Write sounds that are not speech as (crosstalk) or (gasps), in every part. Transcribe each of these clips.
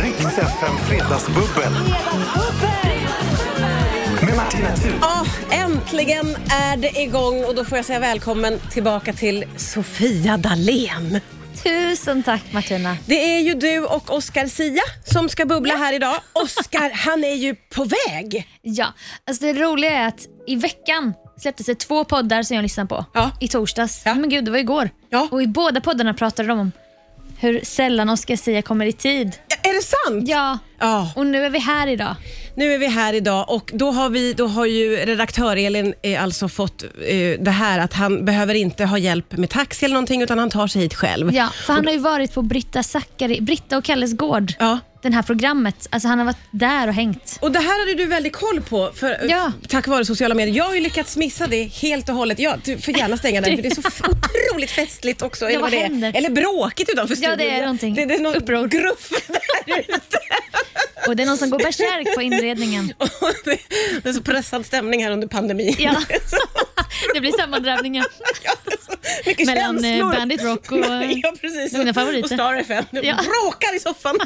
FM Fredagsbubbel med Martina Thun. Ja, Ah, äntligen är det igång och då får jag säga välkommen tillbaka till Sofia Dalén. Tusen tack Martina. Det är ju du och Oscar Sia som ska bubbla här idag. Oscar, han är ju på väg. Ja, alltså det roliga är att i veckan släpptes det två poddar som jag lyssnade på. Ja. I torsdags. Ja. Men gud, det var igår. Ja. Och i båda poddarna pratade de om hur sällan Oscar Sia kommer i tid. Ja, Är det sant? Ja. Ja. Och nu är vi här idag. Nu är vi här idag och då har, vi, då har ju redaktör Elin eh, alltså fått eh, det här att han behöver inte ha hjälp med taxi eller någonting utan han tar sig hit själv. Ja, för han har ju varit på Britta, Zackari, Britta och Kalles gård. Ja. Den här programmet. Alltså han har varit där och hängt. Och det här hade du väldigt koll på för, eh, Ja. tack vare sociala medier. Jag har ju lyckats missa det helt och hållet. Jag du får gärna stänga den för det är så (laughs) otroligt festligt också. eller, vad det är. händer? eller bråkigt utanför Ja, det studion. är någonting. Det, det är någon Uppror. gruff där ute. Och det är någon som går bärsärk (laughs) på inredningen. (laughs) Och det, det är så pressad stämning här under pandemin. Ja. Det är (laughs) så, Det blir sammandrabbningar. ja, det är så mycket Mellan, eh, känslor. Bandit Rock och, eh, (laughs) ja, precis. mina favoriter. Och Star FM. De Ja. bråkar i (laughs) soffan.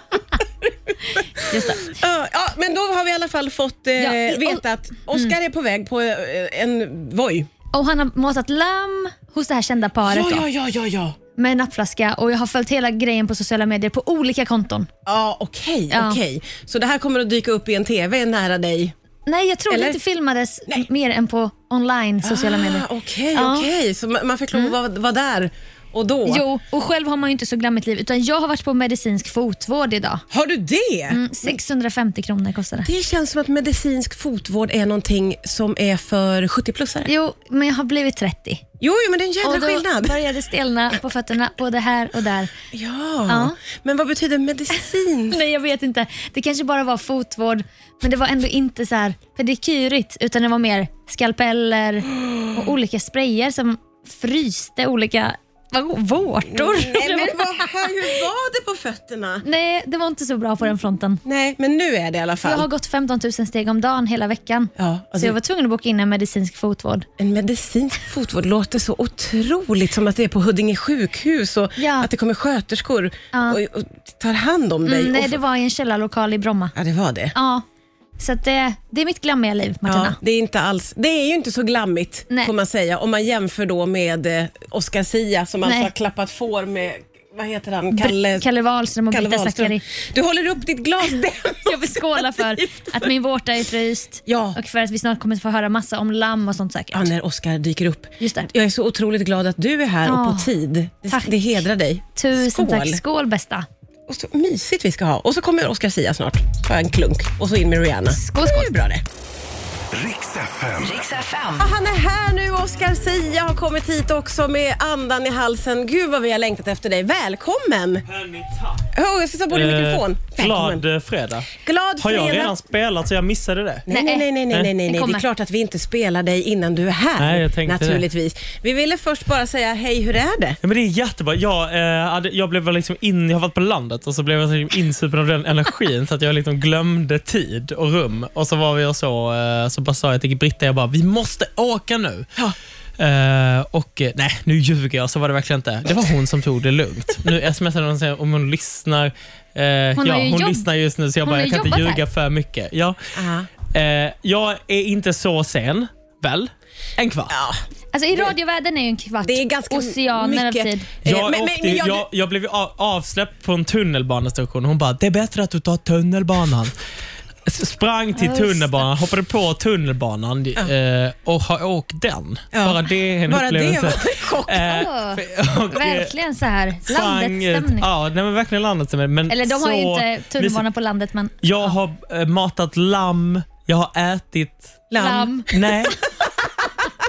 Just det. Ja, ja, men då har vi i alla fall fått eh, Ja, i- mm. veta att Oscar är på väg på eh, en Voi. Och han har matat lamm hos det här kända paret. då. ja, ja, ja, ja. med en nappflaska och jag har följt hela grejen på sociala medier på olika konton. Ja, okej. Ja. okej. Så det här kommer att dyka upp i en TV nära dig? Nej, jag tror Eller? det inte filmades Nej. mer än på online sociala medier. Ah, Okej, Ja. Mm. okej. Så ma- man fick lov att vara- vara där och då? Jo, och själv har man ju inte så glammigt liv utan jag har varit på medicinsk fotvård idag. Har du det? Mm, 650 kronor kostar det. Det känns som att medicinsk fotvård är någonting som är för 70-plussare. Jo, men jag har blivit 30. Jo, jo, men det är en jädra och då skillnad. började stelna på fötterna både här och där. Ja. Ja. men vad betyder (laughs) medicin? Nej, jag vet inte. Det kanske bara var fotvård, men det var ändå inte så här pedikyrigt utan det var mer skalpeller (gasps) och olika sprayer som fryste olika vad- vårtor. (laughs) Nej, men vad, hur var det på fötterna? Nej, det var inte så bra på den fronten. Nej, men nu är det i alla Jag har fall. gått 15 000 steg om dagen hela veckan. Ja, Så alltså, jag var tvungen att boka in en medicinsk fotvård. En medicinsk fotvård låter så otroligt som att det är på Huddinge sjukhus och Ja. att det kommer sköterskor Ja. och, och tar hand om dig. Mm, och nej, f- det var i en källarlokal i Bromma. Ja, det var det. Ja, så att det, det är mitt glammiga liv, Ja, Martina. det, är inte alls, det är ju inte så glammigt Nej. får man säga om man jämför då med eh, Oscar Sia som alltså Nej. har klappat får med, vad heter han, Kalle, Kalle Wahlström och Kalle Britta Wahlström. Zackari. Du håller upp ditt (laughs) glas där. Jag vill skåla för att min vårta är fryst Ja. och för att vi snart kommer få höra massa om lamm och sånt säkert. Ja, när Oscar dyker upp. Just det. Jag är så otroligt glad att du är här och på Ja, tid. Det, tack. det hedrar dig. Tusen Skål. tack. Skål bästa. Och så mysigt vi ska ha. Och så kommer Oscar Sia snart. Ta en klunk. Och så in med Rihanna. Skål, skål. Det är ju bra det. Riks FM. Ja, han är här nu. Oscar Sia har kommit hit också med andan i halsen. Gud vad vi har längtatt efter dig. Välkommen! Hörni, tack. Oh, jag ska ta på din mikrofon. Eh, Välkommen. glad eh, fredag. Glad Har fredag. jag redan spelat så jag missade det? Nej, nej, nej, nej, nej, nej, nej. Den Det är kommer. klart att vi inte spelar dig innan du är här. Nej, jag tänkte det. naturligtvis. Vi ville först bara säga hej, hur är det? Ja, men det är jättebra. Jag, eh, hade, jag blev väl liksom in, jag har varit på landet och så blev jag liksom insupen av den energin så att jag liksom glömde tid och rum. Och så var vi och så, eh, så bara sa jag till Britta, jag bara, vi måste åka nu. Ja. Eh, och eh, nej, nu ljuger jag, så var det verkligen inte. Det var hon som tog det lugnt. Nu smsar hon och säger om hon lyssnar. Eh, har ja, ju hon jobb- lyssnar just nu så jag hon bara, har jag kan jobbat inte här." ljuga för mycket. Ja. Ah. Eh, jag är inte så sen, väl? En kvart. Ja, Alltså i radiovärlden är ju en kvart det är ganska oceaner mycket. av tid. Eh, Jag, åkte, ju- jag, jag, blev ju av, avsläppt på en tunnelbanestation. Hon bara, det är bättre att du tar tunnelbanan. S- Sprang till Just det. tunnelbanan, hoppade på tunnelbanan eh, och har åkt den. Ja. Bara det är en Bara det upplevelse. var en chock. Eh, Åh, för- och, eh, Verkligen så här. sprang Landets ut- stämning. Ja, nej, men verkligen landets stämning. Men Eller de har ju så inte tunnelbana mysigt. på landet men Jag har eh, matat lamm, jag har ätit... lamm. Nej. (laughs)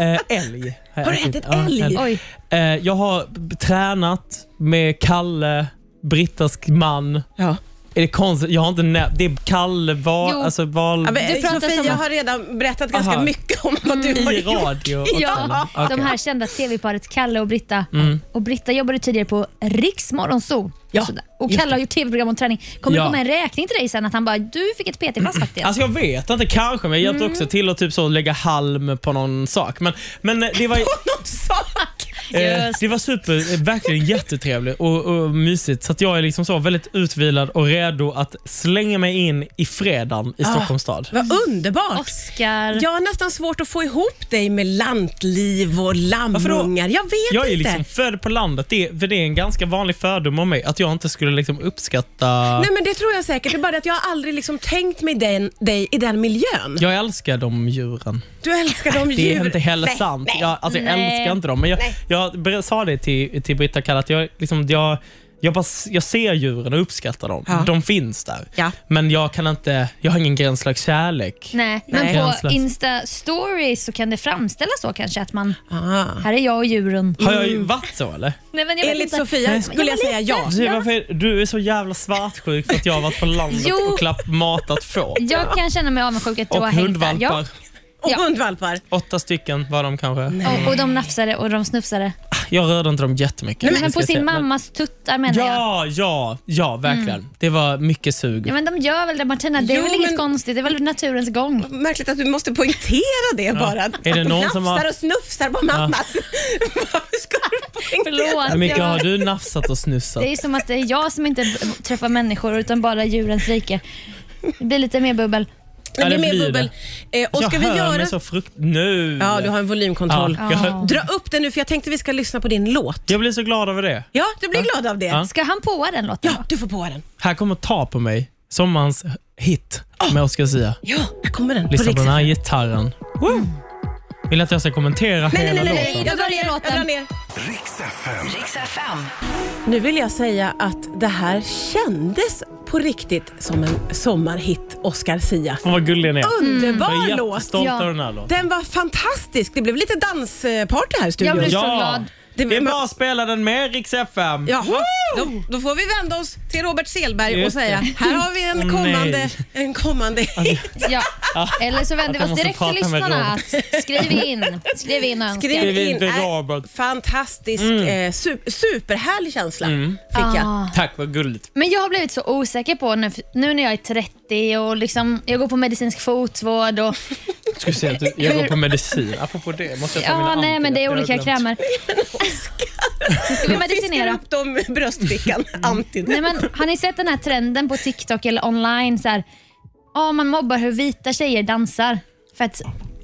eh, älg. Har du ätit älg? Oj. Eh, jag har b- tränat med Kalle, Brittas man. Ja. Är det konstigt? Jag har inte nämnt. Det är Kalle val, Jo. alltså val Ja, men, Du pratar Sofia som- har redan berättat ganska Aha. Mm, mycket om vad du har i gjort. (laughs) radio. och Ja, sådana. Okej. Mm. de här kända tv-paret Kalle och Britta. Och Britta jobbade tidigare på Riks Morgonzoo. Ja. Sådär. Och Kalle har gjort tv-program om träning. Kommer det Ja. komma en räkning till dig sen att han bara, du fick ett PT-pass faktiskt. Alltså jag vet inte, kanske, men jag Mm. (laughs) hjälpte också till att typ så lägga halm på någon sak. Men, men eh, det var Någon sak. Eh, Just. det var super, eh, verkligen jättetrevligt och, och mysigt. Så att jag är liksom så väldigt utvilad och redo att slänga mig in i fredagen Ah. i Stockholms stad. Vad underbart! Oscar. Jag har nästan svårt att få ihop dig med lantliv och lammungar. Jag vet Jag är inte. liksom född på landet. Det, är- för det är en ganska vanlig fördom om mig att jag inte skulle liksom uppskatta... Nej men Det tror jag säkert. Det är bara det att jag har aldrig liksom tänkt mig den, dig i den miljön. Jag älskar de djuren. Du älskar de Det är djur. inte heller sant. Jag, alltså, jag Nej. älskar inte dem. Men jag, Nej. jag ber- sa det till, till Britta Kalle att jag, liksom, jag, jag, bara, s- jag ser djuren och uppskattar dem. Ja. De finns där. Ja. Men jag kan inte, jag har ingen gränslös kärlek. Nej, men Nej. på Gränslöst. Insta-stories så kan det framställas så kanske att man, Ah. här är jag och djuren. Har jag ju varit så eller? Nej, men jag vet Enligt inte. Sofia Ja, men skulle jag säga ja. Du, varför, du är så jävla svartsjuk för att jag har varit på landet Jo. och klapp, matat får. Jag kan känna mig avundsjuk att du Och har hängt där. hundvalpar. Ja. Och Ja. hundvalpar. Åtta stycken var de kanske. Och, och de nafsade och de snufsade. Jag rörde inte dem jättemycket. Nej, men ska på jag säga. sin Men- mammas tuttar menar jag. Ja, ja, ja, verkligen. Det var mycket sug. Ja, men de gör väl det Martina, det är Jo, väl inget men- konstigt, det är väl naturens gång. Märkligt att du måste poängtera det bara. Att Är det de någon nafsar som har- och snufsar på mammas. (laughs) Varför ska du poängtera? Hur Förlåt. mycket jag- har du nafsat och snussat? Det är ju som att det är jag som inte b- träffar människor utan bara djurens rike. Det blir lite mer bubbel. Men det Ja, är det mer blir bubbel. Eh, och ska jag vi hör göra... mig så frukt... Nu! Ja, du har en volymkontroll. Ja, jag, Dra upp den nu för jag tänkte vi ska lyssna på din låt. jag blir så glad över det. Ja, du blir glad av det. Ja. Ja. Ska han påa den låten då? du får på den. Här kommer Ta på mig, sommarens hit med Oscar Zia. Ja, här kommer den. Lyssna på Rix den här FM. gitarren. Woo! Vill ni att jag ska kommentera Nej, nej, hela nej, nej, låten? nej. Jag drar Börja ner låten. Jag drar ner. Riks FM. Riks FM. Nu vill jag säga att det här kändes på riktigt som en sommarhit, Oscar Sia. Fan vad gullig ni är. Underbar Jag är låt! jättestolt Ja. över den här låten. Den var fantastisk. Det blev lite dansparty här i Jag studion. blir- så Ja! glad. Det- Det är bara att spela den med Rix FM. Jaha, då, då får vi vända oss till Robert Selberg och Just det. säga här har vi en Åh, kommande, nej. en kommande hit. Ja. Eller så vänder Att vi jag oss måste direkt till prata med lyssnarna. Skriv in, skriv in och önska. Skriv Skriv in in. till Äh, Robert. Fantastisk, Mm. eh, su- superhärlig känsla fick jag. Ah. Tack, vad gulligt. Men jag har blivit så osäker på nu, nu när jag är 30 och liksom, jag går på medicinsk fotvård och Jag skulle säga att du- jag går på medicin. Apropå det, måste jag ta mina ja, nej men det är antidepp- olika jag har glömt. krämer. Nu ska vi Fiskar medicinera. upp dem i (laughs) bröstfickan, Antin. Nej, men, har ni sett den här trenden på TikTok eller online? Så här, ja, man mobbar hur vita tjejer dansar. För att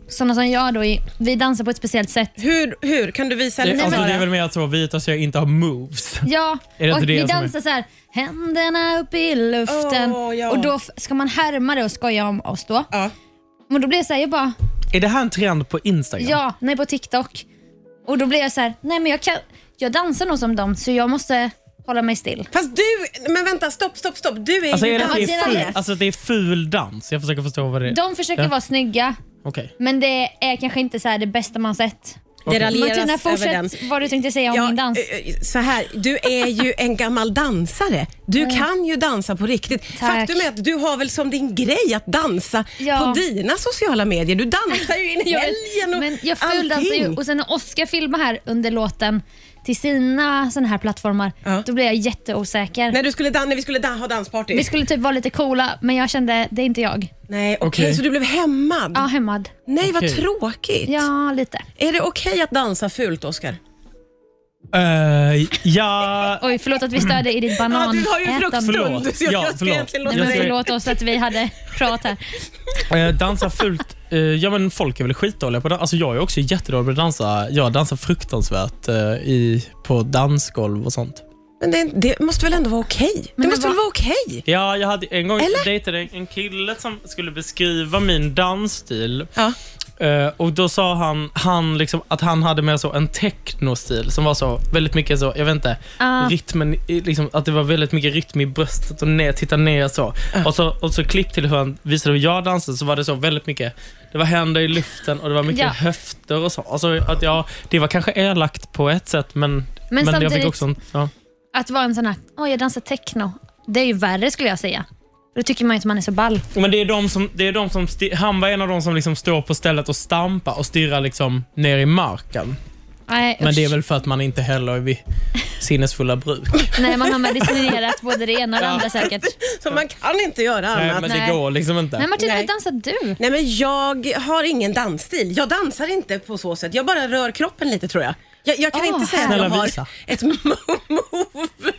sådana som jag, då, är- vi dansar på ett speciellt sätt. Hur, hur? Kan du visa Det, lite? alltså, det Sara? är väl mer att så vita så jag inte har moves. Ja, Är det och inte det vi som är- dansar så här, händerna upp i luften. Åh, ja. Och då f- ska man härma det och skoja om oss då. Ja. Men då blir jag så här, jag bara, Är det här en trend på Instagram? ja, nej på TikTok. Och då blir jag så här, nej men jag kan, jag dansar nog som dem så jag måste hålla mig still. Fast du, men vänta, stopp, stopp, stopp. Du är ju Alltså, är det, att dansare. det, är dansare. ful, alltså det är ful dans. Jag försöker förstå vad det är. De försöker Ja. vara snygga, Okej. men det är kanske inte så här det bästa man sett. Det Martina, raljeras över den. fortsätt vad du tänkte säga om Ja, min dans. eh, eh, Så här, du är ju en gammal dansare. Du kan ju dansa på riktigt. Faktum är att du har väl som din grej att dansa Ja. på dina sociala medier. Du dansar ju in i (laughs) Jag- helgen och men jag fuldansar ju allting. och sen när Oscar filmar här under låten till sina såna här plattformar, Ja. då blir jag jätteosäker. När, du skulle dan- när vi skulle dan- ha dansparty? Vi skulle typ vara lite coola, men jag kände det är inte jag. Nej, okej, Okej. så du blev hämmad? Ja, hämmad. Nej, vad Okej. tråkigt. Ja, lite. Är det okej att dansa fult, Oscar? Eh, ja... Oj, förlåt att vi störde i ditt banan. du har ju ätande. frukoststund. Förlåt. så jag- Ja, jag ska förlåt. egentligen Nej, låta men Jag ska- dig- förlåt oss att vi hade prat här. Eh, dansa fult. Eh, ja, men folk är väl skitdåliga på det. Alltså, jag är också jättedålig på att dansa. Jag dansar fruktansvärt eh, i, på dansgolv och sånt. Men det, det måste väl ändå vara okej? Det det måste var- väl vara okej? Ja, jag hade en gång Eller? dejtade en- en kille som skulle beskriva min dansstil. Ja. Eh, och Då sa han, han liksom, att han hade mer så en technostil som var så väldigt mycket så, jag vet inte, Ah. rytmen, i- liksom, att det var väldigt mycket rytm i bröstet och ner, titta ner så. Och så. Och så klipp till hur han visade hur jag dansade så var det så väldigt mycket, det var händer i luften och det var mycket Ja. höfter och så. Alltså, att jag, det var kanske elakt på ett sätt men, men, jag fick samtidigt- också en, ja. Att vara en sån här, åh jag dansar techno. Det är ju värre skulle jag säga. Då tycker man ju att man är så ball. Men det är de som, det är de som sti- han var en av de som liksom står på stället och stampar och stirrar liksom ner i marken. Nej, Men det är usch. väl för att man inte heller är vid (laughs) sinnesfulla bruk. Nej, man har medicinerat både det ena och det Ja. andra (laughs) säkert. Så man kan inte göra Nej, annat. men Nej. det går liksom inte. Nej, Martina, Nej. hur dansar du? Nej men jag har ingen dansstil. Jag dansar inte på så sätt. Jag bara rör kroppen lite tror jag. Jag, jag kan Åh, inte säga att härligt. jag har Snälla ett (laughs) mo- move.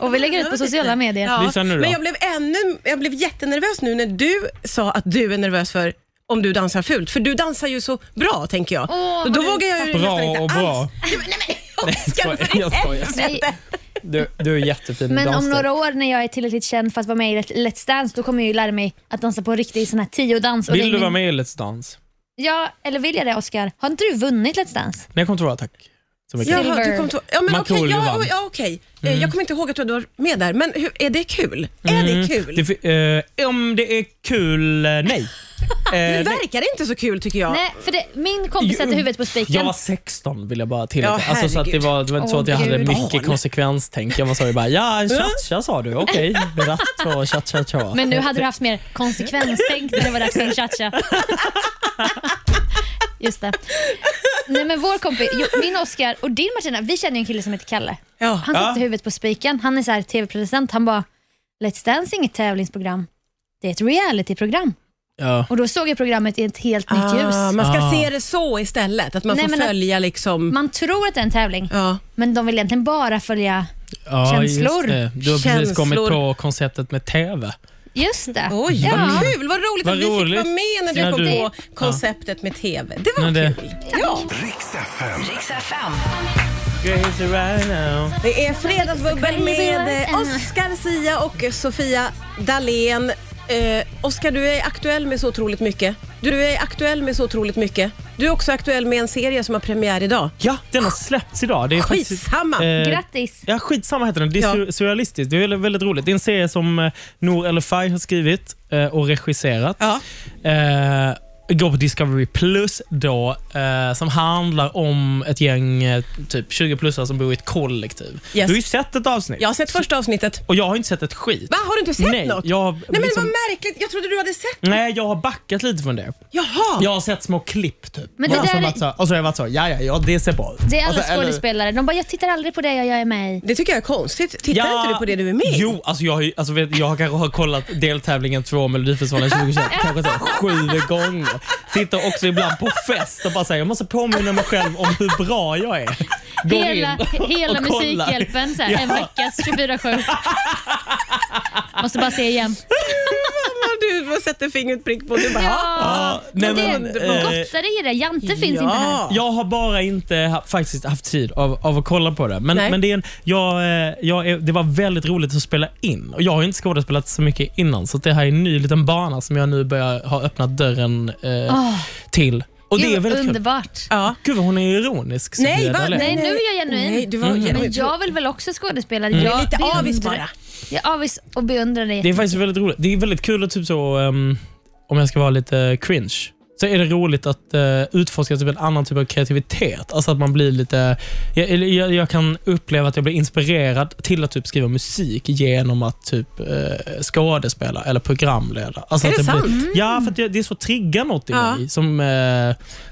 Och vi lägger ut Jag på vet sociala inte. medier. Visa nu då. Men jag blev, ännu, jag blev jättenervös nu när du sa att du är nervös för om du dansar fult. För du dansar ju så bra tänker jag. Åh, och då vad vågar jag ju Bra nästan inte och alls. bra. (laughs) Nej, men, nej, men, jag Oskar, skojar, för i jag skojar. Nej, helvete. Du, du är jättefin Men om dansstil. några år när jag är tillräckligt känd för att vara med i Let- Let's Dance, då kommer jag ju lära mig att dansa på riktigt i sån här tiodans. och det Vill är du min- vara med i Let's Dance? Ja, eller vill jag det Oscar? Har inte du vunnit Let's Dance? Nej, jag kommer inte ihåg. Tack så mycket. Jaha, Silver. du kom till, ja, men okej, Markoolio ja, vann. Mm. ja, okej. Eh, Jag kommer inte ihåg att du var med där, men hur, är det kul? Är det kul? Det fi- eh, om det är kul, eh, nej. Eh, Det nej. verkar inte så kul tycker jag. Nej, för det, min kompis Jo, sätter huvudet på Jag spiken. var 16 vill jag bara tillägga. Ja, alltså, så att det, herregud. var, det var inte så Åh, att jag hade Gud. mycket Barn. konsekvenstänk. Jag var så jag (laughs) bara, ja, cha-cha sa du, okej. Ratt och cha-cha-cha. Men nu hade du haft mer konsekvenstänk när det var dags för en cha-cha. Just det. Nej, men vår kompis, jo, min Oscar och din Martina, vi känner ju en kille som heter Kalle. Ja. Han Ja. satte huvudet på spiken. Han är så här tv-producent. Han bara, Let's Dance är inget tävlingsprogram. Det är ett realityprogram. Ja. Och då såg jag programmet i ett helt nytt Ah, ljus. man ska Ah. se det så istället, att man Nej, får men att- följa liksom... Man tror att det är en tävling, Ja. men de vill egentligen bara följa... Ja, Känslor. just det. Du har precis Känslor. kommit på konceptet med TV. Just det. Oj, ja. vad kul! Vad roligt Vad att vi roligt. fick vara med när du När kom du- på konceptet med TV. Det var När det- kul. Ja. Riks FM. Riks FM. Crazy right now. Det är Fredagsbubbel med eh, Oscar Sia och Sofia Dalén. Eh, Oscar, du är aktuell med så otroligt mycket. Du är aktuell med så otroligt mycket. Du är också aktuell med en serie som har premiär idag. Ja, den har släppts idag. Det är Skitsamma. Faktiskt, eh, Grattis. Ja, skitsamma heter den. Det är Ja. sur- surrealistiskt. Det är väldigt, väldigt roligt. Det är en serie som eh, Nour El-Refai har skrivit eh, och regisserat. Ja. Eh, går på Discovery Plus då, eh, som handlar om ett gäng eh, typ 20-plussare som bor i ett kollektiv. Yes. Du har ju sett ett avsnitt Jag har sett första avsnittet. och jag har inte sett ett skit. Va, har du inte sett Nej, något? jag har Nej men liksom- vad märkligt. Jag trodde du hade sett. Nej, jag har backat lite från det. Jaha! Jag har sett små klipp typ. Men det och, så där har är- jag varit så, och så har jag varit så, ja, ja, ja det ser bra ut. Det är Och alla så- Alltså, eller- skådespelare. De bara, jag tittar aldrig på det jag, jag är med i. Det tycker jag är konstigt. Tittar inte du på det du är med i? Jo, alltså jag, har ju- alltså vet, jag har kanske har kollat deltävlingen två Melodifestivalen 2021 kanske så här sju gånger. Sitter också ibland på fest och bara säger jag måste påminna mig själv om hur bra jag är. Går Hela, in och (laughs) hela kollar. Musikhjälpen, så här, en veckas (laughs) 24-7. Måste bara se igen. Du sätter fingret prick på. Du bara, "Ah." ja. Ja, nej, men det men, är eh, gottare i det. Jante finns inte här. Jag har bara inte ha, faktiskt haft tid av, av att kolla på det. Men, Nej. men det, är en, jag, eh, jag är, det var väldigt roligt att spela in. Och Jag har ju inte skådespelat så mycket innan, så det här är en ny liten bana som jag nu börjar ha öppnat dörren eh, till. Och det är Gud, väldigt kul. underbart. Ah. ja. Gud vad hon är ironisk. Sofia Nej, va? Dalén. Nej, nu är jag genuin. Nej, du var Mm. genuin. Men jag vill väl också skådespela. Jag Jag är lite beundrar- avis bara. Jag är avis och beundrar dig. Det är faktiskt väldigt roligt. Det är väldigt kul att typ så, ehm, om jag ska vara lite cringe, så är det roligt att eh, utforska typ en annan typ av kreativitet. Alltså att man blir lite... Jag, eller jag, jag kan uppleva att jag blir inspirerad till att typ skriva musik genom att typ eh, skådespela eller programleda. Alltså Är att det sant? Blir, ja, för att det, det är så triggar något i Ja. mig. Som, eh,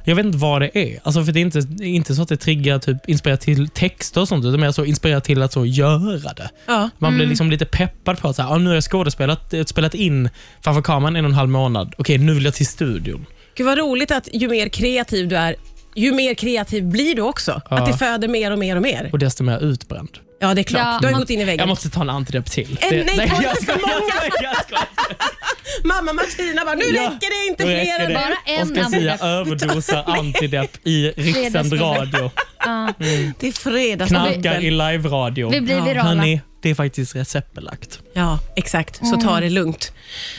jag vet inte vad det är. Alltså för det är inte, det är inte så att det triggar typ inspirerar till texter och sånt, utan mer så inspirerar till att så göra det. Ja. Man blir liksom lite peppad på att så här, ah, nu har jag skådespelat, eh, spelat in framför kameran en och en halv månad. Okej, nu vill jag till studion. Gud vad roligt att ju mer kreativ du är, ju mer kreativ blir du också. Ja. Att det föder mer och mer och mer. Och desto mer utbränd. Ja, det är klart. Ja. Du har ju gått in i Jag väggen. måste ta en antidepp till. Eh, nej, oj, jag så skojar, många. jag skojar, jag skojar. Mamma Martina bara, nu (laughs) Ja, räcker det inte Nu fler. räcker än det. bara." Bara en Oscar Zia (laughs) antidepp. överdosar antidepp i rikssänd Fredagsbubbel. (laughs) radio. Ja. Det är fredags. Knarkar i live-radio. Vi blir virala. Hörni, det är faktiskt receptbelagt. Ja, exakt. Mm. Så ta det lugnt.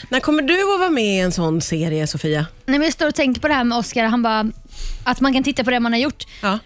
När kommer du att vara med i en sån serie, Sofia? Nej, men jag står och tänker på det här med Oscar. Han bara, att man kan titta på det man har gjort. Ja.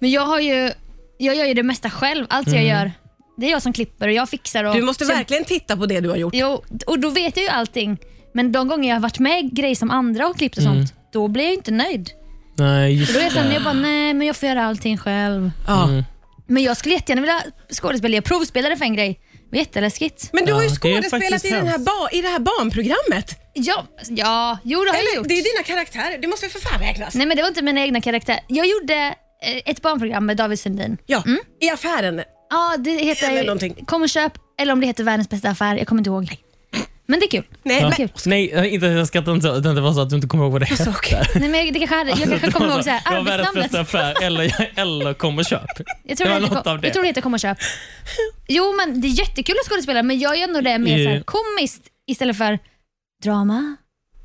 Men jag har ju, jag gör ju det mesta själv. Allt jag gör, det är jag som klipper och jag fixar. Och, Du måste så jag- verkligen titta på det du har gjort. Jo, och då vet jag ju allting. Men de gånger jag har varit med i grejer som andra har klippt och sånt, då blir jag ju inte nöjd. Nej, Då är just jag såhär, jag bara, nej men jag får göra allting själv. Ja. Mm. Men jag skulle jättegärna vilja skådespela. Jag provspelade för en grej. Det var jätteläskigt. Men du har ju Ja, det är skådespelat faktiskt i, den här hemskt. ba- i det här barnprogrammet. Ja, ja jo det har jag Eller, gjort. det är dina karaktärer. Det måste ju för fan räknas. Nej men det var inte mina egna karaktärer. Jag gjorde eh, ett barnprogram med David Sundin. Ja, i affären. Ja, det Eller heter någonting. Kom och köp, eller om det heter Världens bästa affär. Jag kommer inte ihåg. Men det är kul. Nej, Ja. men, Nej, inte, jag skrattar inte så. utan Det var så att du inte kommer (laughs) ihåg vad det hette. så, okej. Nej, men det kanske hade, jag kanske kommer ihåg så här, (laughs) Det var världens arbetsnamnet. bästa affär eller, eller kom och köp. Jag tror det det, heter, var något av kom- det. jag tror det heter Kom och köp. Jo, men det är jättekul att skådespela, men jag gör nog det mer så här, Ja. komiskt istället för drama.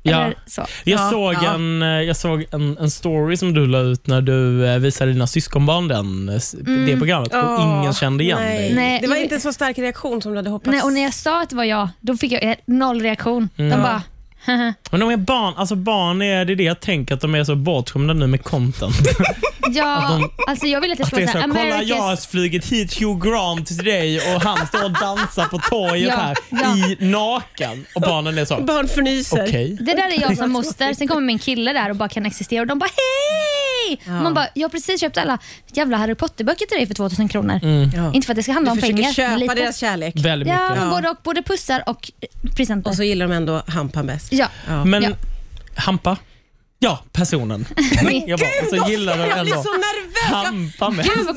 Ja. Eller så. Jag, Ja, såg ja. En, eh, jag såg en, en story som du la ut när du eh, visade dina syskonbarn den, eh, s- det programmet och Åh, ingen kände igen nej. dig. Mm. Nej, Det var men- inte en så stark reaktion som du hade hoppats. Nej, och när jag sa att det var jag, då fick jag eh, noll reaktion. Mm. De bara, Men de är barn, alltså barn är, det är det jag tänker, att de är så bortskämda nu med content. ja, alltså jag vill att det Att ska det är vara så så, här, här, kolla jag har America's flugit hit Hugh Grant till dig och han står och dansar på torget Ja, här ja. i naken. Och barnen är så, okej. Barn förnyser. Det där är (laughs) jag som moster. Sen kommer min kille där och bara kan existera och de bara hej! Och Man bara, jag har precis köpt alla jävla Harry Potter-böcker till dig för 2000 kronor. Mm. Ja. Inte för att det ska handla Du om försöker pengar. men köpa lite. deras kärlek. Väldigt Ja, mycket. men både, och, både pussar och eh, presenter. Och så gillar de ändå hampan bäst. ja. Men Ja. Hampa? Ja, (laughs) personen. jag bara, och så gillar den Jag blir ändå så nervös! Jag- Hampa med. Gud vad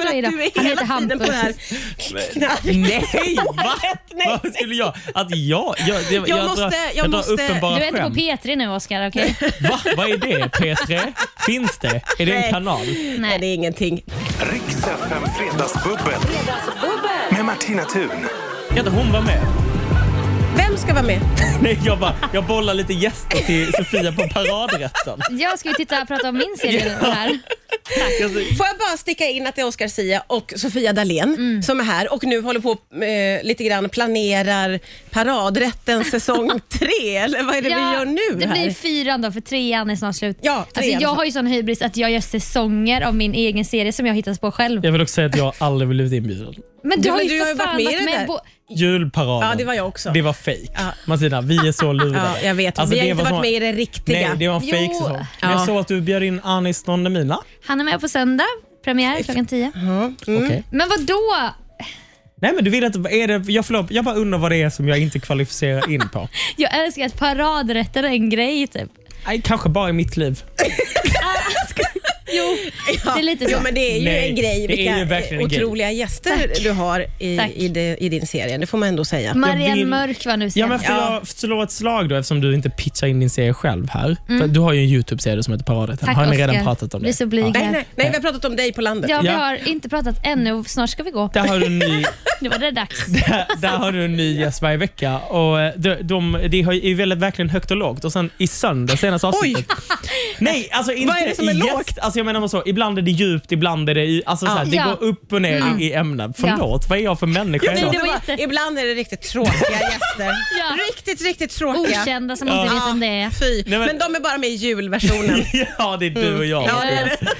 (laughs) För du är att idag. du är Han hela heter tiden Hampus. på det här knark. Nej, (laughs) va? nej, Vad skulle jag? Att jag? Jag, jag, jag, måste- drar, jag jag drar måste- uppenbara Du är inte på skämt. P3 nu (laughs) Oscar, okej? Va? Vad är det? P3? Finns det? Är det en Nej. kanal? Nej, det är ingenting. Riks FM Fredagsbubbel. Med Martina Thun. Kan inte hon vara med? Vem ska vara med? Nej, jag, bara, jag bollar lite gäster till Sofia på (laughs) paradrätten. Ja, ska vi titta och prata om min serie nu här? Jag ser- Får jag bara sticka in att det är Oscar Sia och Sofia Dalén Mm. som är här och nu håller på eh, lite grann planerar (laughs) paradrätten säsong tre, eller vad är det vi gör nu det här? blir fyran då, för trean är snart slut. Ja, alltså, trean. jag har ju sån hybris att jag gör säsonger av min egen serie som jag har hittat på själv. Jag vill också säga att jag aldrig blivit inbjuden. Men du Ja, har men ju du för har ju varit fan med i det där. bo- Julparaden. Ja, det var jag också. Det var fejk. Ja. Martina, vi är så lurade. Ja, jag vet. Alltså, vi har det inte var varit som- med i det riktiga. Nej, (laughs) det var en Jo. fejksäsong. Ja. Jag såg att du bjöd in Anis Don Demina. Han är med på söndag, premiär klockan 10. Okej. Men vad då? Nej, men du vill inte... vad Är det, jag, förlåt, jag bara undrar vad det är som jag inte kvalificerar in (laughs) på. Jag älskar att paradrätter är en grej typ. Nej, kanske bara i mitt liv. Ja, Det är lite så. Jo, men det är ju Nej, en det grej är vilka ju verkligen en grej. otroliga gäster du har i, Tack. i, det- i din serie. Det får man ändå säga. Marianne vill- Mörk var nu Ja, men senast. får jag slå ett slag då eftersom du inte pitchar in din serie själv här. För du har ju en Youtube-serie som heter Paradrätten. Mm. Tack, har ni redan Oscar. pratat om Blir det? så blyg. Nej, nej, nej, vi har pratat om dig på landet. Ja, vi Ja. har inte pratat ännu och snart ska vi gå. Där har du en ny, Nu var det dags. där, (laughs) där har du en ny gäst varje vecka. Och eh, de, de, det har ju- är ju väldigt, verkligen högt och lågt. Och sen i söndag, senaste avsnittet. Nej, alltså inte är det som är i lågt? Ah, gäst. Alltså jag menar bara så, ibland är det djupt, ibland är det... i- Alltså så här, det Ja. går upp och ner Mm. i- i ämnen. Förlåt, vad är jag för människa Nej, idag? det var var jätte- Ibland är det riktigt (laughs) tråkiga gäster. Ja. Riktigt, riktigt tråkiga. Okända som inte vet Ja, om det är. Fy. Nej, men- men... de är bara med i julversionen. (laughs) Ja, det är du och jag. Ja, det Martina. är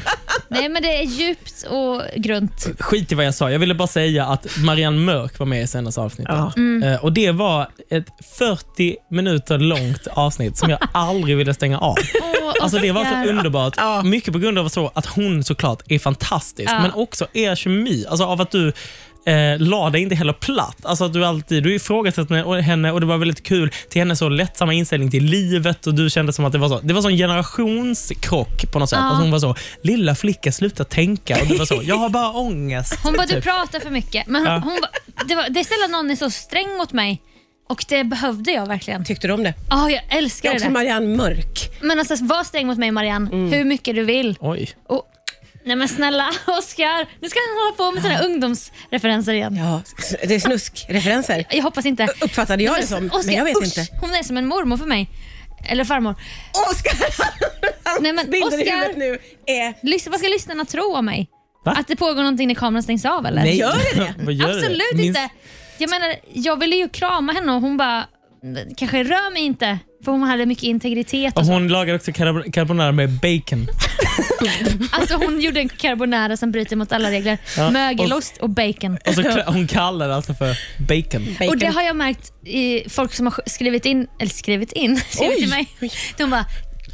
Nej, men det är djupt och grunt. Skit i vad jag sa. Jag ville bara säga att Marianne Mörk var med i senaste avsnittet. Ja. Eh, Och Det var ett 40 minuter långt avsnitt som jag aldrig ville stänga av. Åh, Alltså Det var Oscar. så underbart. Ja. Mycket på grund av så att hon såklart är fantastisk, Ja. men också er kemi. Alltså av att du Eh, la dig inte heller platt. Alltså att du alltid du ifrågasatte henne och det var väldigt kul till hennes så lättsamma inställning till livet och du kände som att det var så. Det var sån generationskrock på något sätt. Ja. Alltså hon var så, lilla flicka sluta tänka och du var så, jag har bara ångest. Hon bara, du Typ. pratar för mycket. Men hon, Ja. hon bara, det, var, det är sällan någon är så sträng mot mig. Och det behövde jag verkligen. Tyckte du om det? Ja, jag Det älskar är det. också där. Marianne Mörk. Men alltså, var sträng mot mig Marianne, hur mycket du vill. Oj. Och, nej men snälla Oscar, nu ska han hålla på med sina ungdomsreferenser igen. Ja, det är snuskreferenser. Jag hoppas inte. Uppfattade jag Nej, det som, Oscar, men jag vet usch, inte. Hon är som en mormor för mig. Eller farmor. Oskar! Nej, Nej, (laughs) men men (laughs) Bilden i Oscar- huvudet nu är... Lyssna, vad ska lyssnarna tro om mig? Va? Att det pågår någonting när kameran stängs av eller? Gör det (laughs) Vad gör det? Absolut Minns- inte. Jag menar, jag ville ju krama henne och hon bara, kanske rör mig inte. För hon hade mycket integritet. Och Och så. hon lagar också carbon- carbonara med bacon. Alltså hon gjorde en carbonara som bryter mot alla regler. (laughs) Ja, Mögelost och bacon. Och så kla- hon kallar det alltså för bacon. Bacon. Och det har jag märkt i folk som har sk- skrivit in, eller skrivit in, (laughs) skrivit till mig. De bara,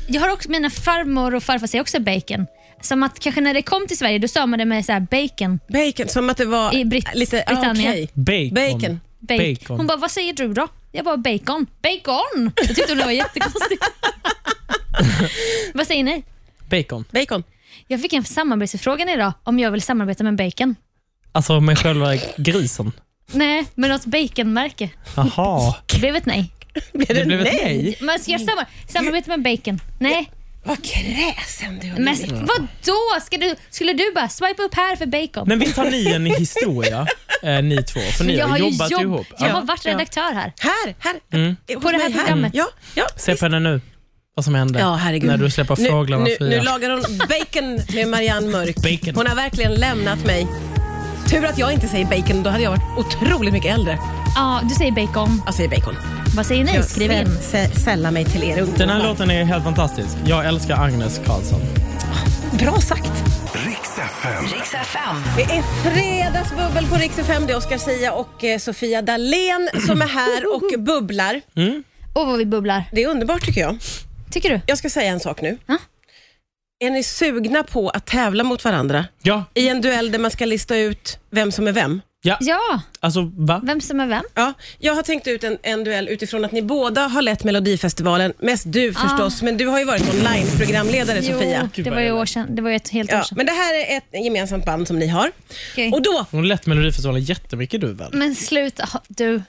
jag har också, mina farmor och farfar säger också bacon. Som att kanske när det kom till Sverige, då sa man det med så här bacon. Bacon, som att det var I Brit- lite... ah, Britannia. okej. Bacon. Bacon. Bacon. Bacon. Hon bara, vad säger du då? Jag bara, bacon. Bacon! (laughs) Jag tyckte hon det var jättekonstigt. vad säger ni? Bacon. Bacon. Jag fick en samarbetsförfrågan idag om jag vill samarbeta med Bacon. Alltså med själva grisen. Nej, med något baconmärke. (laughs) Jaha. Det blev ett nej. Blev Det blev ett nej. Man ska samma, samarbeta med Bacon. Nej, Vad kräsen du har men blivit. vad då? Ska du, skulle du bara swipa upp här för Bacon? Men visst har ni (laughs) en historia, eh, ni två? För ni jag har ju jobbat jobb- ihop. Jag Ja. har varit redaktör här. Här, här. Eh, På det här mig, programmet. Ja, ja. Mm. Se på henne nu, vad som hände. Ja, herregud. När du släpper Nu, fåglarna nu, fria. nu lagar hon bacon med Marianne Mörk. Bacon. Hon har verkligen lämnat mig. Tur att jag inte säger bacon, då hade jag varit otroligt mycket äldre. Ja, du säger Bacon. Jag säger bacon. Vad säger ni? Jag Skriv in. säl- säl- sällar mig till er ungdomar. Den här låten är helt fantastisk. Jag älskar Agnes Karlsson. Bra sagt. Riks FM. Riks FM. Det är fredagsbubbel på Rix FM. Det är Oscar Sia och eh, Sofia Dalén som är här (laughs) och bubblar. Åh, vad vi bubblar. Det är underbart tycker jag. Tycker du? Jag ska säga en sak nu. Ja. Är ni sugna på att tävla mot varandra Ja, i en duell där man ska lista ut vem som är vem? ja. Ja, Alltså va? vem som är vem. Ja, jag har tänkt ut en, en duell utifrån att ni båda har lett Melodifestivalen. Mest du förstås, men du har ju varit online-programledare Sofia. Ah. Jo, det var ju år sedan. Det var ju ett helt år Ja, sedan. men det här är ett gemensamt band som ni har. Okej. Och då, Hon lät Melodifestivalen jättemycket du väl? Men sluta. Ha- Du,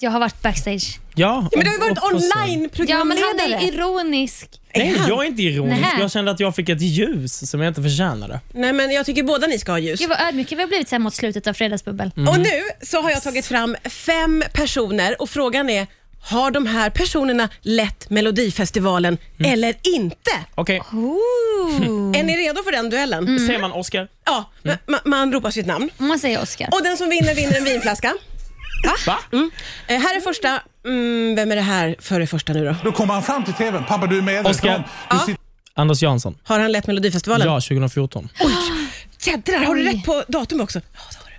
jag har varit backstage. Ja. men du har ju varit och- och så- Ja, men han online-programledare. är ironisk. Nej, jag är inte ironisk. Nähä. Jag kände att jag fick ett ljus som jag inte förtjänade. Nej, men jag tycker båda ni ska ha ljus. Gud vad ödmjuka vi har blivit så här mot slutet av Fredagsbubbel. Och nu så har jag tagit fram fem personer och frågan är, har de här personerna lett Melodifestivalen eller inte? Okej, Ooh. Är ni redo för den duellen? Mm. ser man Oscar? Ja, ma- ma- man ropar sitt namn. Mm. Om man säger Oscar. Och den som vinner vinner en (laughs) vinflaska. Va? Eh, här är första. Mm, vem är det här för det första nu då? Då kommer han fram till tvn. Pappa, du är medveten Oskar. om... Du sitter Anders Jansson. Har han lett Melodifestivalen? Ja, 2014. Jädrar, har du Oj. rätt på datum också? Ja, det har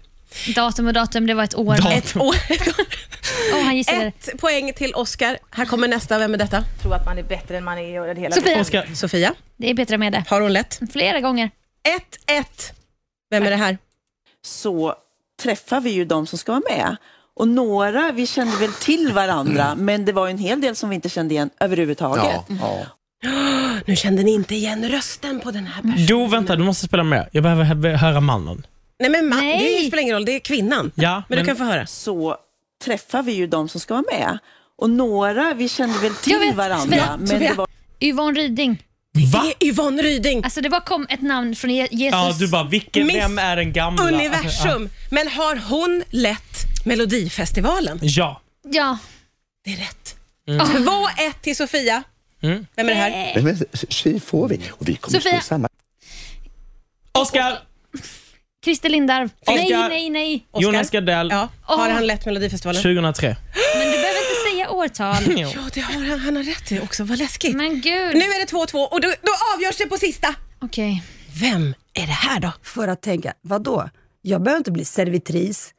du. Datum och datum, det var ett år. Datum. Ett, år. (laughs) Åh, han gissade. Ett poäng till Oscar. Här kommer nästa. Vem är detta? tro att man är bättre än man är och det hela Sofia, Oscar. Sofia. det är bättre med det. Har hon lätt? Flera gånger. 1-1. Vem är det här? så träffar vi ju de som ska vara med. Och några, vi kände väl till varandra, men det var ju en hel del som vi inte kände igen överhuvudtaget. Nu kände ni inte igen rösten på den här personen. Du, vänta, du måste spela med. Jag behöver hö- höra mannen. Nej, men man, Nej. det spelar ingen roll. Det är kvinnan. Ja, men, men- du kan få höra. Så träffar vi ju de som ska vara med. Och några, vi kände väl till Jag vet, varandra, Sofia, men Sofia. det var Yvonne Ryding. Va? Det är Yvonne Ryding. Alltså det bara kom ett namn från Je- Jesus. Ja, du bara, vilken, Miss vem är den gamla? Alltså, Universum. Men har hon lett Melodifestivalen? ja. Ja. Det är rätt. Mm. 2-1 till Sofia. Vem är det Eh, här? Nej, men tji får vi. Och vi kommer Sofia. stå samma. ja. Oscar! Christer Lindarw. Nej, Oscar. nej, nej. Oscar? Jonas Gardell. Ja. Har Åh. han lett Melodifestivalen? 2003. Men du behöver inte säga årtal. Jo. Ja, det har han. Han har rätt i också. Vad läskigt. Men gud. Nu är det 2-2 och då, då avgörs det på sista. Okej. Vem är det här då? för att tänka, vad då? Jag behöver inte bli servitris.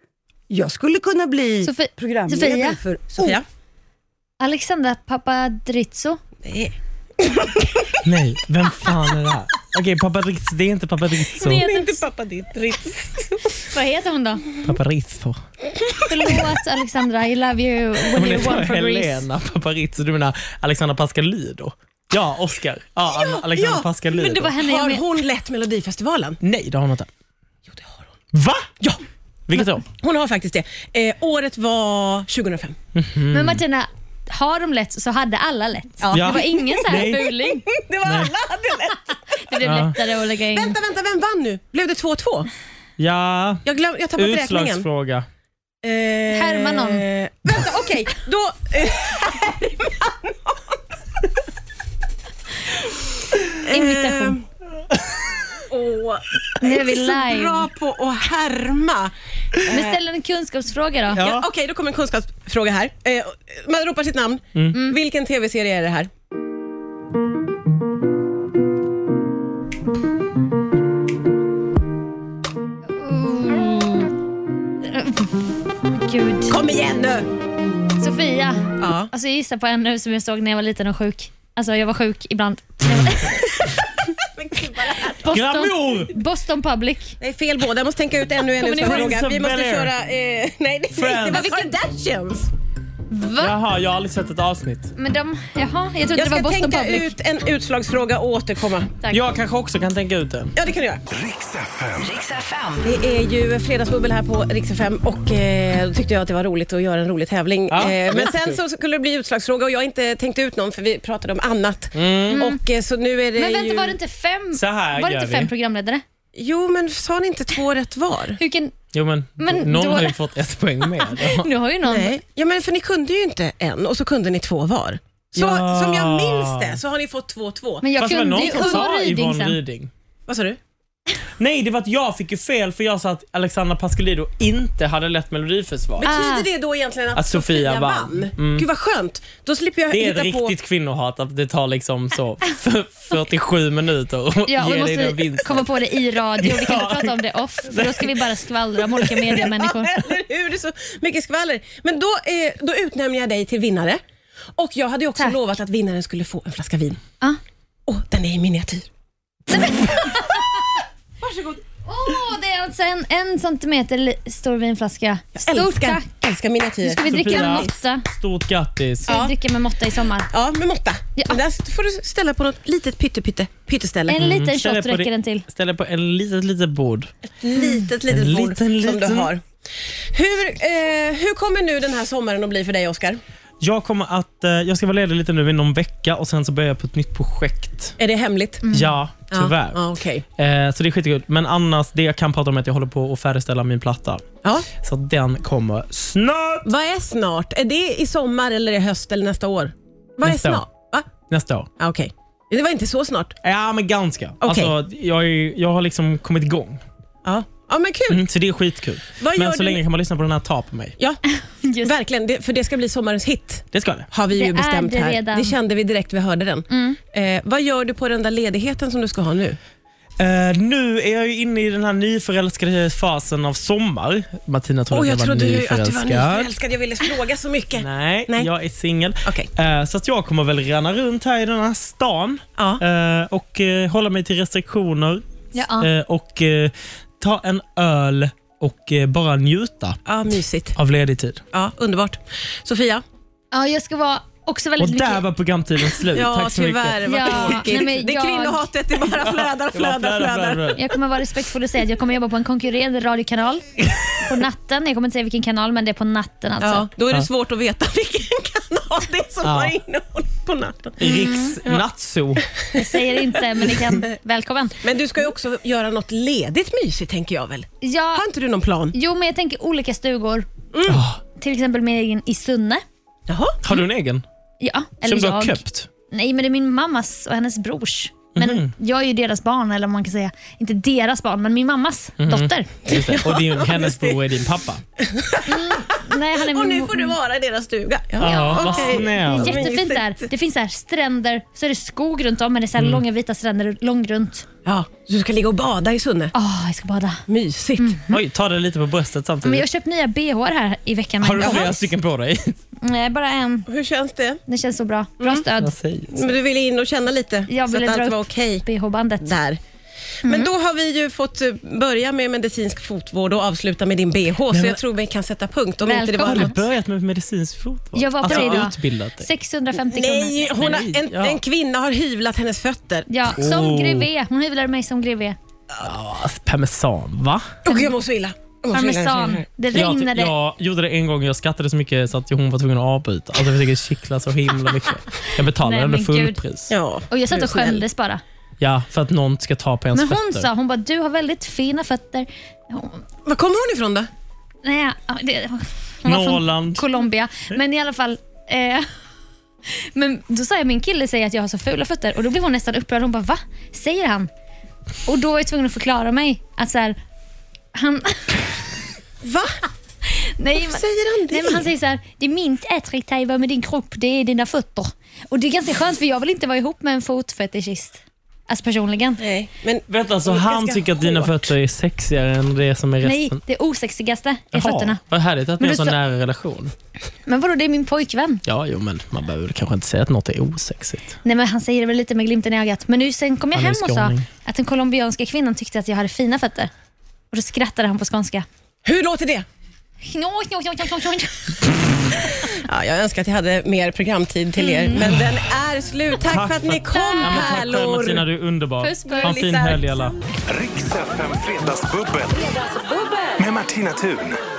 Jag skulle kunna bli Sofi- programledare Sofia? för... Sofia? Alexandra Papadrizou. Nej. Nej, vem fan är det här? Okej, Paparizzo. Det är inte Paparizzo. Nej. inte pappa ditt Ritz. Vad heter hon då? Paparizzo. Förlåt Alexandra, I love you when Hon you heter want for Greece. Helena Paparizzo. Du menar Alexandra Pascalido? Ja, Oscar. Ja, Alexandra ja, Pascalido. Men det var henne jag Har med. hon lett Melodifestivalen? Nej, det har hon inte. Jo, det har hon. Va? Ja. Vilket år? Hon har faktiskt det. Eh, året var (laughs) 2005. Mm. Men Martina, har de lätt så hade alla lätt. Ja. Det var ingen så Nej. här fuling. Det var alla hade lätt. Det blev Ja. lättare att lägga (laughs) in. Vänta, vänta, vem vann nu? Blev det 2-2? Ja, Jag, glöm, jag tappade räkningen. utslagsfråga. Eh, Härma någon. Vänta, okej. Då... (laughs) Eh, eh, Imitation. åh, Nu är vi så live. bra på att härma. Men ställ en kunskapsfråga då. Ja. Ja, Okej, då kommer en kunskapsfråga här. Eh, man ropar sitt namn. Mm. Mm. Vilken tv-serie är det här? Gud. Kom igen nu! Sofia. Ja. Alltså jag gissar på en nu som jag såg när jag var liten och sjuk. Alltså jag var sjuk (laughs) ibland. Boston, Glamour! Boston Public. Nej, fel båda. Jag måste tänka ut ännu en Kommer ni ihåg utslagsfråga. Vi måste (laughs) Prince of köra... Eh, nej, det, nej, det var Friends. Kardashians. Va? Jaha, jag har aldrig sett ett avsnitt. Men de, jaha, jag trodde Jag det var ska Boston tänka Public. ut en utslagsfråga och återkomma. Tack. Jag kanske också kan tänka ut den. Ja, det kan du göra. Riks FM. Riks FM. Det är ju fredagsbubbel här på Rix FM och eh, då tyckte jag att det var roligt att göra en rolig tävling. Ja, eh, men jättekul. sen så skulle det bli utslagsfråga och jag har inte tänkt ut någon för vi pratade om annat. Mm. Och eh, så nu är det Men ju... vänta, var det inte fem, Så här var det gör inte vi. fem programledare? Jo, men sa ni inte två rätt var? Hur kan, Jo, men, Men någon då- har ju fått ett poäng (laughs) mer. nu har ju någon... Nej. Ja, men för ni kunde ju inte en och så kunde ni två var. Så Ja. som jag minns det så har ni fått två två. Men jag Fast det var kunde någon ju som sa Ove Ryding Yvonne sen. Ryding. Vad sa du? Nej, det var att jag fick ju fel för jag sa att Alexandra Pascalidou inte hade lett Melodifestivalen. Betyder Ah. det då egentligen att, Att Sofia Sofia, vann? vann. Mm. Gud vad skönt. Då slipper jag Det är ett hitta på... riktigt kvinnohat att det tar liksom så 47 minuter att Ja, och ge då dig måste den vi vinsten. komma på det i radio. (laughs) Vi kan inte prata om det off, för då ska vi bara skvallra om olika mediamänniskor. (laughs) Ja, (laughs) eller hur? Det är så mycket skvaller. Men då, eh, då utnämner jag dig till vinnare. Och jag hade ju också Tack. lovat att vinnaren skulle få en flaska vin. Ja. Och den är i miniatyr. Varsågod. Åh, det är alltså en, en centimeter li- stor vinflaska. Stort älskar, tack! älskar Nu miniatyrer. ska vi dricka Sofia. med måtta. Stort grattis. Ska vi dricka med måtta i sommar. Ja, med måtta. Ja. Den där får du ställa på något litet pyttepytte pytteställe. En liten Mm. Ställ shot det på räcker det- den till. Ställ det på en litet, litet bord. litet, litet En bord liten, som du liten. har. Hur, eh, hur kommer nu den här sommaren att bli för dig, Oscar? Jag kommer att, eh, jag ska vara ledig lite nu i någon vecka och sen så börjar jag på ett nytt projekt. Är det hemligt? Mm. Mm. Ja, tyvärr. Ja, ja, okej. Eh, så det är skitkul. Men annars, det jag kan prata om är att jag håller på att färdigställa min platta. ja. Så den kommer snart! Vad är snart? Är det i sommar, eller i höst eller nästa år? Vad Nästa är år. snart? Va? Nästa år. Ah, Okej. Det var inte så snart. Ja, men ganska. Alltså, jag, är, jag har liksom kommit igång. Ja, ja men kul. Mm, så det är skitkul. Vad gör men så du- länge kan man lyssna på den här Ta på mig. Ja, (laughs) Just. verkligen. Det, för det ska bli sommarens hit, Det ska det. har vi ju Det bestämt är det här. redan. Mm. Det kände vi direkt vi hörde den. Eh, vad gör du på den där ledigheten som du ska ha nu? Eh, nu är jag ju inne i den här nyförälskade fasen av sommar. Martina trodde Åh, att jag, var nyförälskad. Jag ville fråga så mycket. Nej, Nej. jag är singel. Okej. Eh, så att jag kommer väl ränna runt här i den här stan Ja. eh, och eh, hålla mig till restriktioner Ja. eh, och eh, ta en öl och eh, bara njuta Ja, mysigt. av ledig tid. Ja, underbart. Sofia? ja, jag ska vara också väldigt Och där lycklig. var programtiden slut. (laughs) Ja, Tack så mycket. tyvärr. Vad Ja, tråkigt. nej, men Det är jag- kvinnohatet, (laughs) det bara flödar, Det flödar, var flera, flödar. flera, flera. Jag kommer vara respektfull och säga att jag kommer jobba på en konkurrerande radiokanal på natten. Jag kommer inte säga vilken kanal, men det är på natten alltså. Ja, då är det Ja. svårt att veta (laughs) vilken kanal det är som Ja. har innehåll på natten. Riks nattzoo. Jag säger inte, men ni kan... (laughs) Välkommen. Men du ska ju också göra något ledigt mysigt, tänker jag väl? Ja, Har inte du någon plan? jo, men jag tänker olika stugor. Mm. Ah. Till exempel min egen i Sunne. Jaha? Har du en egen? Ja, eller Som du har jag. köpt? Nej, men det är min mammas och hennes brors. Men Mhm. jag är ju deras barn, eller man kan säga, inte deras barn, men min mammas Mhm. dotter. (laughs) Just det. Och din, hennes just det. bror är din pappa. Nej, han är Och min nu får du vara i deras stuga. Ja. Ja, vad okej. Det är snällt. jättefint där. Det finns så här stränder, så är det skog runt om, men det är så här Mm. långa vita stränder långrunt. ja, så du ska ligga och bada i Sunne. Åh, jag ska Mm. bada. Mysigt. Mm. Oj, ta det lite på bröstet Men jag har samtidigt. köpt nya bh här i veckan. Har du men- flera stycken på dig? Nej, bara en. Hur känns det? Det känns så bra. Bra Mm. stöd. Vad säger Men du ville in och känna lite, Jag Mm. så ville att dra allt var upp okej bh-bandet. där. Men då har vi ju fått eh, börja med medicinsk fotvård och avsluta med din bh, så jag tror vi kan sätta punkt. Om inte det var Har du Välkommen. något. börjat med medicinsk fotvård? Jag var på alltså, det idag. utbildat dig? 650 kronor. Nej, hon har, en, ja. en kvinna har hyvlat hennes fötter. Ja, som Oh. grevé. Hon hyvlade mig som grevé. Alltså, Parmesan, va? Och jag mår så illa. Jag mår så illa. Parmesan. Det regnade. Jag, jag gjorde det en gång och jag skrattade så mycket så att hon var tvungen att avbryta. Alltså, jag försöker kittla så himla mycket. Jag betalade Nej, ändå men gud. fullpris. Ja, Och jag du satt är och snäll. skämdes bara. Ja, för att någon ska ta på ens Men hon fötter. sa, hon bara, du har väldigt fina fötter. Hon- Var kommer hon ifrån då? Nej, ja, det, hon var från Norrland. Colombia. Men i alla fall. Eh, (laughs) men då sa jag, min kille säger att jag har så fula fötter och då blev hon nästan upprörd. Hon bara, va? Säger han? Och då var jag tvungen att förklara mig att så här, han, (laughs) Va? nej, men- Säger han det? Nej, men han säger så här, det är minst attraktiva med din kropp, det är dina fötter. Och det är ganska skönt för jag vill inte vara ihop med en fotfetischist. Alltså personligen. Nej, men Vänta, så Det är han ganska tycker att dina hårt. fötter är sexigare än det som är Nej, resten? det osexigaste är Jaha, fötterna. Vad härligt att ni Men har du sa- så nära relation. Men vadå, det är min pojkvän. Ja, jo, men man behöver väl kanske inte säga att något är osexigt. Nej, men han säger det väl lite med glimten i ögat. Men nu sen kom jag Han är hem och sa skåning. att den colombianska kvinnan tyckte att jag hade fina fötter. Och då skrattade han på skånska. hur låter det? Knå, knå, knå, knå, knå, knå. Ja, jag önskar att jag hade mer programtid till er, men den är slut. Tack, för att ni kom, Ja, men Mm. tack för det, Martina, pärlor! du är underbar. Puss, puss. Ha en fin helg alla. Riks FM Fredagsbubbel. Med Martina Thun.